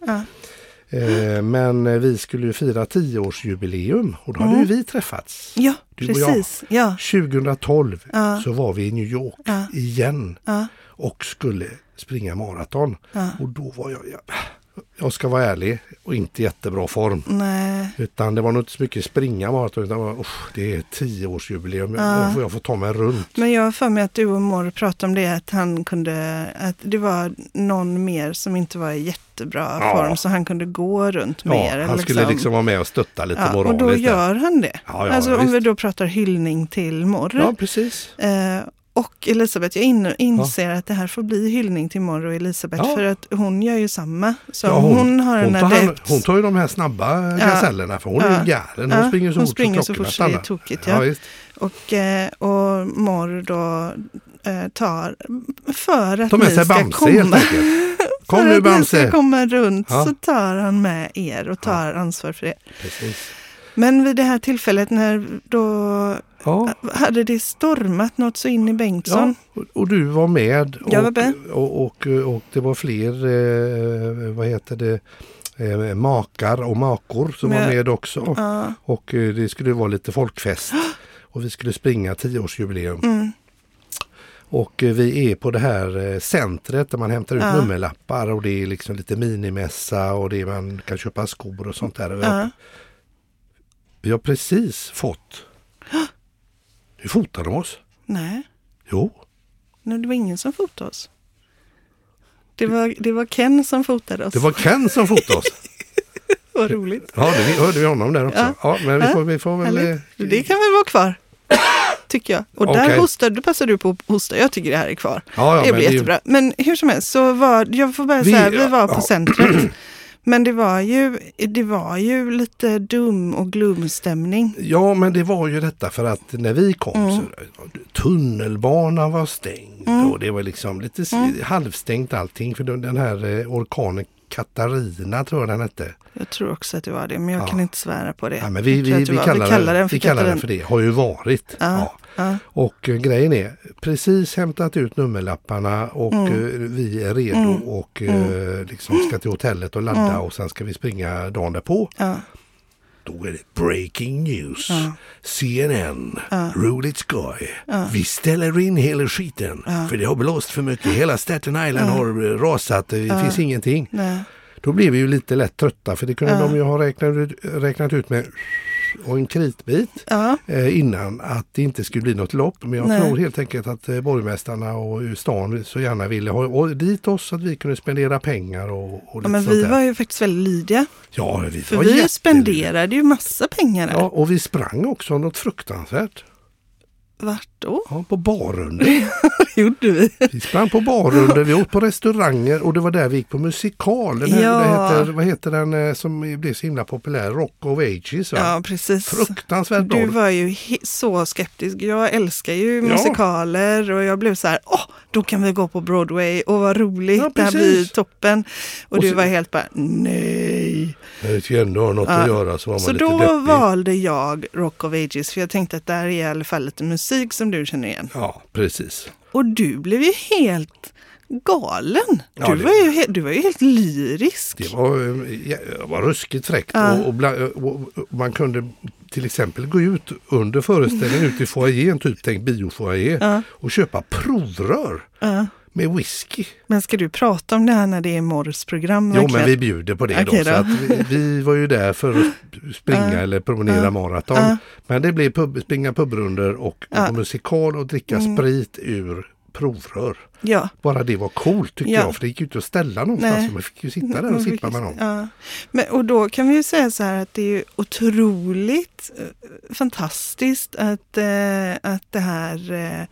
S1: Eh, men vi skulle ju fira tioårsjubileum och då hade
S2: Mm.
S1: ju vi träffats.
S2: Ja,
S1: Du och jag.
S2: precis. Ja,
S1: 2012
S2: Ja.
S1: så var vi i New York
S2: Ja.
S1: igen
S2: ja,
S1: och skulle springa maraton.
S2: ja.
S1: Och då var jag, jag, jag ska vara ärlig, och inte i jättebra form.
S2: Nej,
S1: Utan det var nog inte så mycket springa maraton utan det var, "Usch, det är tioårsjubileum,
S2: Ja.
S1: jag, får, jag får ta mig runt.
S2: men jag har för mig att du och Mor pratade om det, att han kunde, att det var någon mer som inte var i jättebra
S1: Ja.
S2: form, så han kunde gå runt
S1: Ja,
S2: mer.
S1: han skulle liksom vara med och stötta lite
S2: ja, och
S1: moraliskt.
S2: då
S1: där.
S2: gör han det.
S1: Ja, ja,
S2: alltså om
S1: visst.
S2: vi då pratar hyllning till Mor.
S1: ja, precis.
S2: Eh, och Elisabeth, jag in, inser att det här får bli hyllning till Mor och Elisabeth
S1: Ja.
S2: för att hon gör ju samma. Så
S1: Ja,
S2: om hon, har
S1: hon,
S2: en
S1: tar hand,
S2: adept.
S1: hon tar ju de här snabba
S2: Ja.
S1: gasellerna för hon är
S2: Ja.
S1: ju galen. Hon
S2: Ja,
S1: springer så
S2: hon
S1: fort
S2: springer så
S1: klockorna
S2: fort så det är
S1: stannar.
S2: tokigt, ja.
S1: Ja, visst.
S2: Och, eh, och Mor då eh, tar för att
S1: Ta med
S2: ni
S1: sig
S2: ska
S1: Bamse helt
S2: komma.
S1: enkelt. Kom
S2: för
S1: nu
S2: att ni ska
S1: Bamse!
S2: komma runt
S1: Ja.
S2: så tar han med er och tar ansvar för det.
S1: Precis.
S2: Men vid det här tillfället när då
S1: Ja.
S2: hade det stormat något så in i Bengtsson.
S1: Ja, och, och du var med. Och,
S2: Jag var med.
S1: Och, och, och det var fler, eh, vad heter det, eh, makar och makor som
S2: Men-
S1: var med också.
S2: Ja.
S1: Och eh, det skulle vara lite folkfest. Och vi skulle springa tioårsjubileum.
S2: Mm.
S1: Och eh, vi är på det här eh, centret där man hämtar ut
S2: Ja.
S1: nummerlappar och det är liksom lite minimässa och det är, man kan köpa skor och sånt där. Och vi, har,
S2: Ja.
S1: vi har precis fått. Hur fotar de oss?
S2: Nej,
S1: Jo,
S2: nej, det var ingen som fotade oss. Det var, det var Ken som fotade oss.
S1: det var Ken som fotade oss.
S2: Vad roligt.
S1: Ja, det vi- hörde vi honom där också.
S2: Ja.
S1: Ja, men vi
S2: Ja.
S1: får, vi får väl...
S2: Härligt.
S1: eh,
S2: Det kan väl vara kvar. Tycker jag. Och där
S1: Okej.
S2: hostar du, passar du på att hosta. Jag tycker det här är kvar.
S1: Ja, ja,
S2: det
S1: men
S2: blir
S1: det är ju-
S2: jättebra. Men hur som helst, så var, jag får bara
S1: Vi-
S2: säga, vi var på
S1: ja.
S2: centret. Men det var, ju, det var ju lite dum och glumstämning.
S1: Ja, men det var ju detta för att när vi kom
S2: Mm.
S1: så tunnelbanan var stängd och det var liksom lite s-
S2: Mm.
S1: halvstängt allting för den den här eh, orkanen Katarina tror jag den hette.
S2: Jag tror också att det var det, men jag kan inte svära på det.
S1: Ja, men vi,
S2: Jag tror
S1: vi,
S2: att det
S1: vi,
S2: var-
S1: kallar, den, vi kallar den
S2: Katarin.
S1: för det, har ju varit.
S2: Ja, ja.
S1: Och eh, grejen är, precis hämtat ut nummerlapparna och
S2: Mm.
S1: eh, vi är redo och eh, liksom ska till hotellet och ladda och sen ska vi springa dagen därpå.
S2: Mm. Ja.
S1: Då är det breaking news. CNN, roligt skoj. Vi ställer in hela skiten. För det har blåst för mycket. Hela Staten Island har eh, rasat. Det finns ingenting.
S2: Nej.
S1: Då blev vi ju lite lätt trötta för det kunde de ju ha räknat ut, räknat ut med och en kritbit
S2: Ja.
S1: eh, innan att det inte skulle bli något lopp. Men jag
S2: Nej.
S1: tror helt enkelt att eh, borgmästarna och stan så gärna ville ha och dit oss så att vi kunde spendera pengar och, och
S2: Ja,
S1: lite
S2: men
S1: sånt
S2: vi
S1: där.
S2: var ju faktiskt väldigt lydiga.
S1: ja, vi
S2: För
S1: var
S2: vi
S1: jättelyckliga.
S2: spenderade ju massa pengar där.
S1: Ja, och vi sprang också något fruktansvärt.
S2: Vart då?
S1: Ja, på barrundor.
S2: gjorde vi?
S1: Vi sprang på barrundor, vi åt på restauranger och det var där vi gick på musikal. Den här,
S2: Ja.
S1: det heter, vad heter den eh, som blev så himla populär? Rock of Ages va?
S2: Ja, precis.
S1: Fruktansvärt bra.
S2: Du var ju he- så skeptisk. Jag älskar ju
S1: Ja.
S2: musikaler och jag blev så här, åh, då kan vi gå på Broadway och vad roligt,
S1: Ja,
S2: det här
S1: precis.
S2: blir toppen. Och,
S1: Och
S2: du
S1: så-
S2: var helt bara, nej.
S1: Men vi ska ju ändå ha något att göra så var man
S2: Så
S1: lite
S2: då
S1: deppig.
S2: valde jag Rock of Ages för jag tänkte att där är i alla fall lite musik som du känner igen.
S1: Ja, precis.
S2: Och du blev ju helt galen. Du,
S1: Ja, det-
S2: var, ju he- du var ju helt lyrisk.
S1: Det var, eh, ja, det var ruskigt fräckt. Och, och, bland, och, och man kunde till exempel gå ut under föreställningen ut i foajén, typ tänk biofoajé, och köpa provrör med whisky.
S2: Men ska du prata om det här när det är Morrs program?
S1: Jo, men
S2: verkligen?
S1: vi bjuder på det
S2: Okej
S1: då. Så
S2: då.
S1: att vi, vi var ju där för att sp- springa eller promenera maraton. Men det blev pub, springa pubrunder och gå på musikal och dricka
S2: Mm.
S1: sprit ur provrör.
S2: Ja.
S1: Bara det var coolt tyckte
S2: Ja.
S1: jag, för det gick ju inte att ställa någonstans.
S2: Nej.
S1: så Man fick ju sitta där och sippa med någon.
S2: Mm, Ja. Men, och då kan vi ju säga så här att det är ju otroligt eh, fantastiskt att, eh, att det här eh,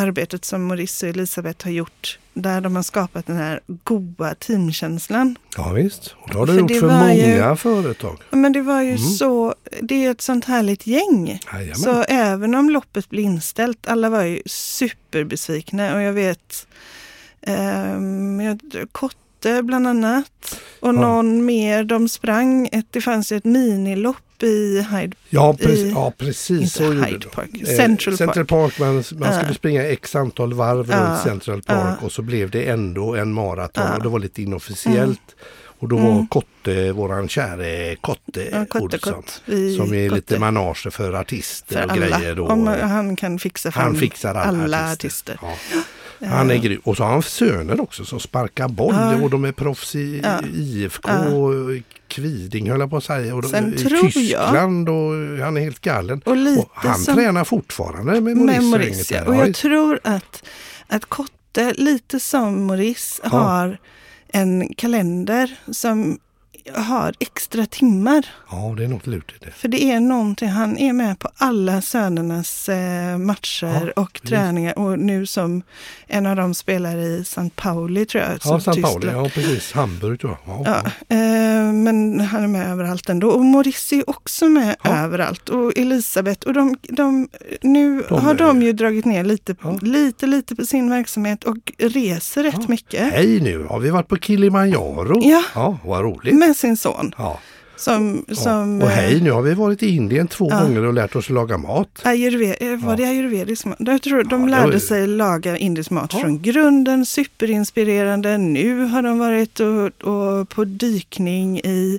S2: arbetet som Maurice och Elisabeth har gjort, där de har skapat den här goa teamkänslan.
S1: Ja visst, och det har du
S2: För
S1: gjort
S2: det
S1: för
S2: var ju-
S1: många företag.
S2: Ja, Men det var
S1: Mm.
S2: ju så, det är ju ett sånt härligt gäng.
S1: Jajamän.
S2: Så även om loppet blev inställt, alla var ju superbesvikna och jag vet, ehm, jag, Kotte bland annat och någon mer, de sprang, ett, det fanns ju ett minilopp i Hyde,
S1: Ja, precis,
S2: i-
S1: ja, precis
S2: inte
S1: så gjorde
S2: Hyde
S1: de.
S2: Park,
S1: Eh,
S2: Central
S1: Central Park, man, man
S2: Ja.
S1: skulle springa x antal varv
S2: Ja.
S1: runt Central Park och så blev det ändå en maraton och det var lite inofficiellt. Och då var Kotte, våran käre Kotte
S2: Mm. Ja, kotte,
S1: Olsson.
S2: kott. Vi,
S1: Som är lite
S2: kotte.
S1: manager för artister
S2: för
S1: och
S2: alla.
S1: grejer. Då.
S2: Om han kan fixa fram
S1: han fixar alla,
S2: artister.
S1: Ja. Han är grym. Och så har han söner också som sparkar boll
S2: Ja.
S1: och de är proffs i
S2: Ja.
S1: IFK
S2: Ja.
S1: och Kviding höll jag på att säga. Och de,
S2: Sen
S1: i
S2: tror jag-
S1: Tyskland och han är helt galen.
S2: Och lite
S1: och han
S2: som
S1: tränar fortfarande med Maurice.
S2: med
S1: och
S2: Maurice.
S1: gänget
S2: ja.
S1: där.
S2: Och
S1: Ja,
S2: jag
S1: just-
S2: tror att, att Kotte, lite som Maurice,
S1: Ja.
S2: har en kalender som har extra timmar.
S1: ja, det är något lurt i det.
S2: För det är någonting, han är med på alla sönernas eh, matcher och träningar. Och nu som en av dem spelar i St. Pauli tror jag.
S1: Ja,
S2: som
S1: San Pauli,
S2: Tyskland.
S1: ja precis. Hamburg tror jag. Ja,
S2: Ja,
S1: ja.
S2: eh, men han är med överallt ändå. Och Maurice är också med
S1: Ja.
S2: överallt. Och Elisabeth. Och de, de, nu
S1: De
S2: har
S1: är-
S2: de ju dragit ner lite,
S1: Ja.
S2: lite, lite på sin verksamhet och reser rätt
S1: Ja.
S2: mycket.
S1: Hej nu, har vi varit på Kilimanjaro?
S2: Ja.
S1: ja vad roligt.
S2: Med sin son.
S1: Ja.
S2: Som,
S1: Ja.
S2: som eh,
S1: och hej nu har vi varit i Indien två
S2: Ja.
S1: gånger och lärt oss laga mat.
S2: eh, ayurve- eh, var
S1: Ja.
S2: det ayurvedisk mat? Jag tror
S1: Ja,
S2: de
S1: det
S2: lärde
S1: var ju-
S2: sig laga indisk mat
S1: Ja.
S2: från grunden, superinspirerande. Nu har de varit och, och på dykning i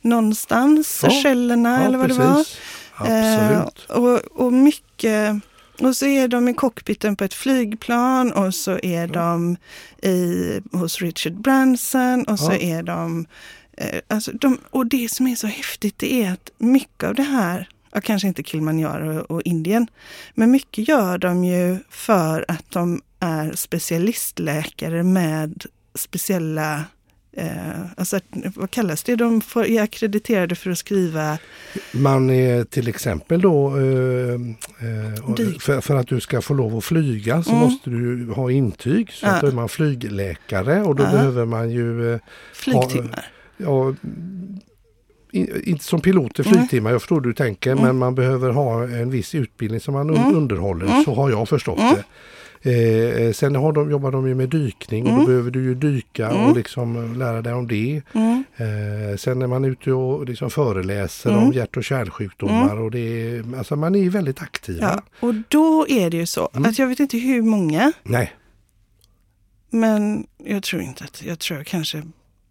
S2: någonstans,
S1: Ja.
S2: Seychellerna eller vad det var.
S1: precis. Absolut.
S2: Eh, och, och mycket. Och så är de i cockpiten på ett flygplan och så är de i, hos Richard Branson och så
S1: Ja.
S2: är de, eh, alltså de... Och det som är så häftigt det är att mycket av det här, ja, kanske inte Kilimanjaro och, och Indien, men mycket gör de ju för att de är specialistläkare med speciella Eh, alltså, vad kallas det? De får, är akkrediterade för att skriva
S1: Man är till exempel då, eh, eh,
S2: Dyk.
S1: för, för att du ska få lov att flyga så
S2: Mm.
S1: måste du ha intyg. Så
S2: Ja.
S1: att då är man flygläkare och då
S2: Ja.
S1: behöver man ju eh,
S2: flygtimmar.
S1: ja, mm, in, inte som pilot i flygtimmar, jag förstår hur du tänker,
S2: Mm.
S1: men man behöver ha en viss utbildning som man un- underhåller,
S2: Mm.
S1: så har jag förstått det. Eh, eh, sen har de, jobbar de ju med dykning och
S2: Mm.
S1: då behöver du ju dyka och liksom eh, lära dig om det.
S2: Mm.
S1: Eh, sen när man är ute och liksom föreläser
S2: Mm.
S1: om hjärt och kärlsjukdomar och det är, alltså man är ju väldigt aktiv.
S2: Ja, och då är det ju så
S1: Mm.
S2: att jag vet inte hur många,
S1: Nej,
S2: men jag tror inte att, jag tror kanske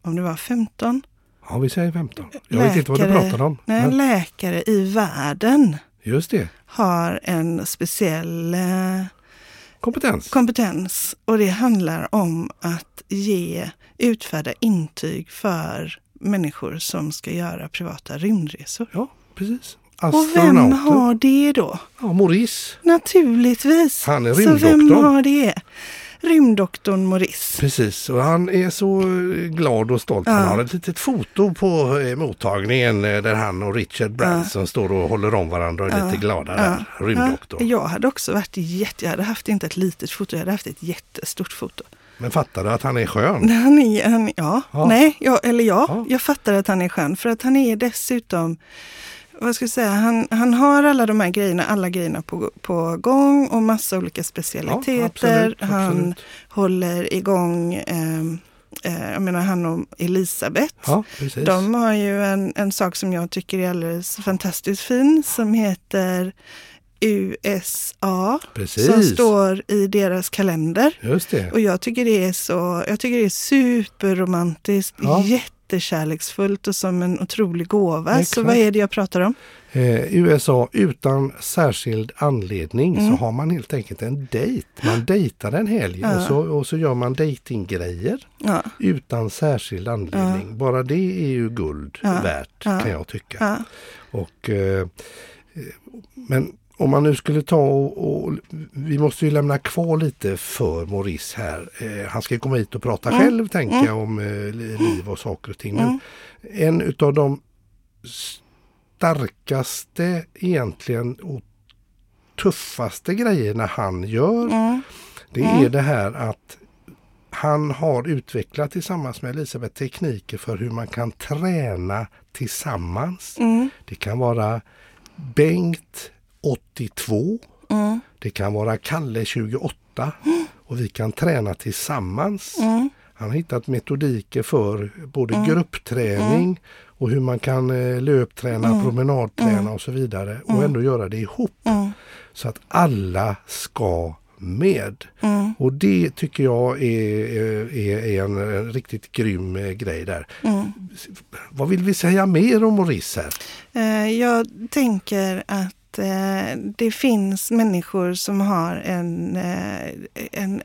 S2: om det var 15
S1: ja, vi säger 15. Jag vet inte vad du pratar om.
S2: Nej,
S1: men
S2: läkare i världen
S1: just det,
S2: har en speciell eh,
S1: kompetens.
S2: kompetens och det handlar om att ge, utfärda intyg för människor som ska göra privata rymdresor.
S1: ja, precis.
S2: Och vem har det då?
S1: Ja, Maurice.
S2: Naturligtvis.
S1: Han är
S2: Så vem
S1: rymddoktorn.
S2: har det? Rymddoktorn Maurice.
S1: Precis, och han är så eh, glad och stolt. Han har ett litet foto på eh, mottagningen eh, där han och Richard Branson står och håller om varandra och är lite glada där. Rymddoktorn.
S2: Jag hade också varit jätte, jag hade haft inte ett litet foto, jag hade haft ett jättestort foto.
S1: Men fattar du att han är skön?
S2: Nej, Han är, han, ja,
S1: Ja.
S2: nej, jag, eller ja,
S1: Ja.
S2: jag fattar att han är skön för att han är dessutom, vad ska jag säga, han, han har alla de här grejerna, alla grejerna på, på gång och massa olika specialiteter.
S1: absolut,
S2: han
S1: absolut.
S2: håller igång, eh, eh, jag menar han och Elisabeth.
S1: Ja, precis.
S2: De har ju en, en sak som jag tycker är alldeles fantastiskt fin som heter USA. Som
S1: precis.
S2: står i deras kalender.
S1: Just det.
S2: Och jag tycker det är så, jag tycker det är superromantiskt,
S1: Ja.
S2: jättekärleksfullt och som en otrolig gåva. Så
S1: Exakt.
S2: vad är det jag pratar om?
S1: Eh, USA utan särskild anledning så har man helt enkelt en dejt. Man dejtar en helg och, så, och så gör man dejtinggrejer
S2: Ja.
S1: utan särskild anledning. Bara det är ju guld värt kan jag tycka.
S2: Ja.
S1: Och, eh, eh, men om man nu skulle ta och, och vi måste ju lämna kvar lite för Maurice här. Eh, han ska ju komma hit och prata själv tänker jag om eh, li- liv och saker och ting. Men en utav de starkaste egentligen och tuffaste grejerna han gör det är det här att han har utvecklat tillsammans med Elisabeth tekniker för hur man kan träna tillsammans. Det kan vara Bengt 82. Det kan vara Kalle 28. Och vi kan träna tillsammans. Han har hittat metodiker för både gruppträning och hur man kan eh, löpträna, promenadträna och så vidare. Och ändå göra det ihop. Så att alla ska med.
S2: Mm.
S1: Och det tycker jag är, är, är en, en riktigt grym eh, grej där.
S2: Mm.
S1: Vad vill vi säga mer om Maurice här?
S2: Eh, Jag tänker att eh, det finns människor som har en, eh, en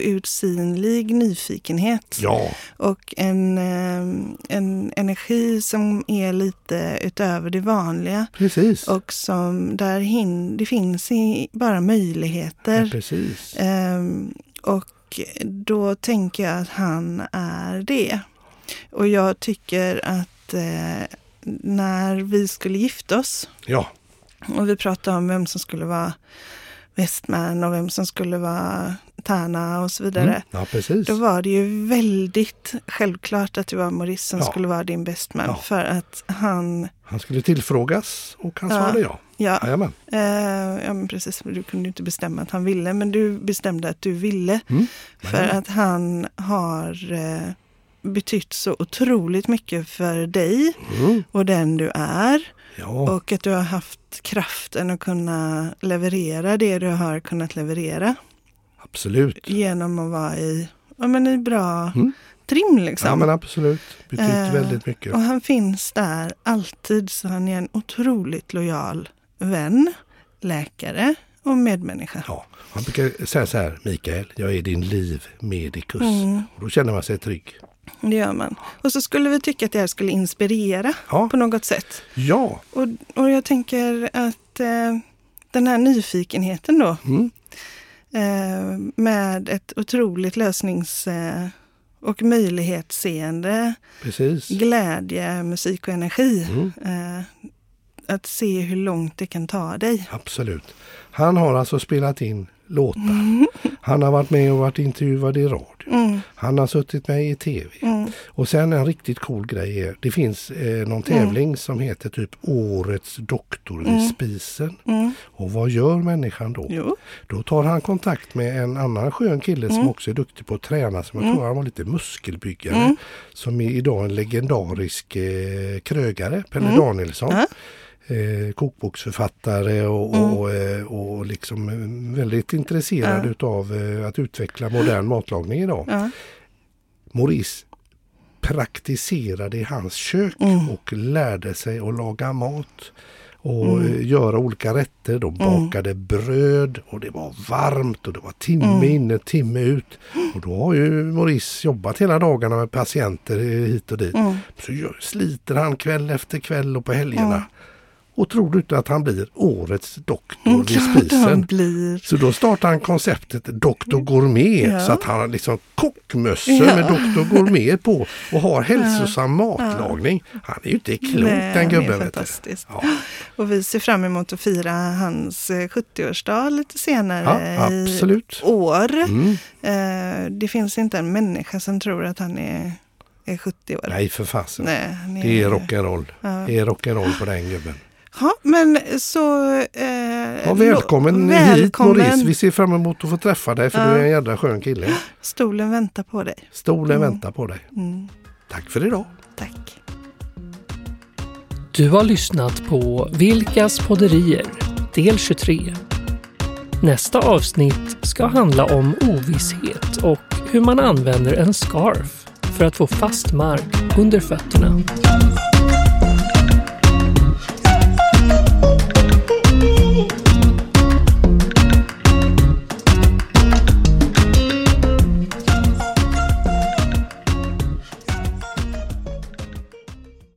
S2: outsinlig nyfikenhet
S1: Ja,
S2: och en, eh, en energi som är lite utöver det vanliga.
S1: precis.
S2: Och som där hin- det finns i, bara
S1: Ja,
S2: möjligheter.
S1: precis.
S2: Ehm, och då tänker jag att han är det. Och jag tycker att eh, när vi skulle gifta oss
S1: Ja,
S2: och vi pratade om vem som skulle vara Westman och vem som skulle vara Tärna och så vidare.
S1: mm. ja precis.
S2: Då var det ju väldigt självklart att det var Maurice som
S1: Ja.
S2: skulle vara din bestman.
S1: Ja.
S2: För att han,
S1: Han skulle tillfrågas och han
S2: Ja.
S1: svarade ja.
S2: ja,
S1: Jajamän.
S2: Eh, ja, men precis. Du kunde ju inte bestämma att han ville, men du bestämde att du ville.
S1: Mm.
S2: För att han har eh, betytt så otroligt mycket för dig
S1: Mm.
S2: och den du är.
S1: Ja,
S2: Och att du har haft kraften att kunna leverera det du har kunnat leverera.
S1: absolut.
S2: Genom att vara i, ja, men i bra
S1: Mm.
S2: trim liksom.
S1: Ja men absolut. Betytt
S2: Eh,
S1: väldigt mycket.
S2: Och han finns där alltid, så han är en otroligt lojal vän, läkare och medmänniska.
S1: Ja, han brukar säga så här, Mikael, jag är din livmedikus.
S2: Mm.
S1: Och då känner man sig trygg.
S2: Det gör man. Och så skulle vi tycka att det här skulle inspirera
S1: Ja,
S2: på något sätt.
S1: ja.
S2: Och, och jag tänker att eh, den här nyfikenheten då
S1: Mm.
S2: eh, med ett otroligt lösnings eh, och möjlighetsseende,
S1: precis.
S2: glädje, musik och energi.
S1: Mm.
S2: Eh, att se hur långt det kan ta dig.
S1: Absolut. Han har alltså spelat in låtar. Han har varit med och varit intervjuad i radio.
S2: Mm,
S1: Han har suttit med i tv.
S2: mm,
S1: Och sen en riktigt cool grej är, det finns eh, någon tävling som heter typ Årets doktor vid spisen.
S2: mm.
S1: Och vad gör människan då?
S2: Jo.
S1: Då tar han kontakt med en annan skön kille
S2: Mm.
S1: som också är duktig på att träna. Som jag tror han var lite muskelbyggare.
S2: Mm.
S1: Som är idag en legendarisk eh, krögare, Pelle Danielsson.
S2: Mm. Ja. Mm.
S1: Eh, kokboksförfattare och, och, eh, och liksom eh, väldigt intresserad utav eh, att utveckla modern matlagning idag.
S2: Ja.
S1: Maurice praktiserade i hans kök
S2: Mm.
S1: och lärde sig att laga mat och
S2: Mm.
S1: eh, göra olika rätter. De bakade bröd och det var varmt och det var timme
S2: Mm.
S1: inne, timme ut. Och då har ju Maurice jobbat hela dagarna med patienter eh, hit och dit.
S2: Mm.
S1: Så gör- sliter han kväll efter kväll och på helgerna.
S2: Mm.
S1: Och tror du inte att han blir årets doktor
S2: Mm,
S1: vid
S2: klart han
S1: spisen?
S2: blir.
S1: Så då startade han konceptet Dr Gourmet
S2: Ja.
S1: så att han har liksom kockmössor
S2: Ja.
S1: med Dr Gourmet på och har hälsosam matlagning. Han är ju inte klok
S2: Nej, han
S1: den
S2: är
S1: gubben. Vet du.
S2: fantastisk.
S1: Ja,
S2: Och vi ser fram emot att fira hans eh, 70-årsdag lite
S1: ja,
S2: senare i
S1: absolut.
S2: år.
S1: Mm.
S2: Eh, Det finns inte en människa som tror att han är, är 70 år.
S1: Nej för fasen.
S2: Nej, han
S1: Det är rock'n'roll.
S2: Ja.
S1: Det är rock'n'roll på den gubben.
S2: Ja, men så... Eh,
S1: Ja, välkommen,
S2: lo-
S1: hit
S2: välkommen.
S1: Maurice. Vi ser fram emot att få träffa dig för
S2: Ja.
S1: du är en jädra skön kille.
S2: Stolen väntar på dig.
S1: Stolen väntar på dig.
S2: Mm,
S1: Tack för idag.
S2: tack.
S3: Du har lyssnat på Vilkas podderier, del 23. Nästa avsnitt ska handla om ovisshet och hur man använder en scarf för att få fast mark under fötterna.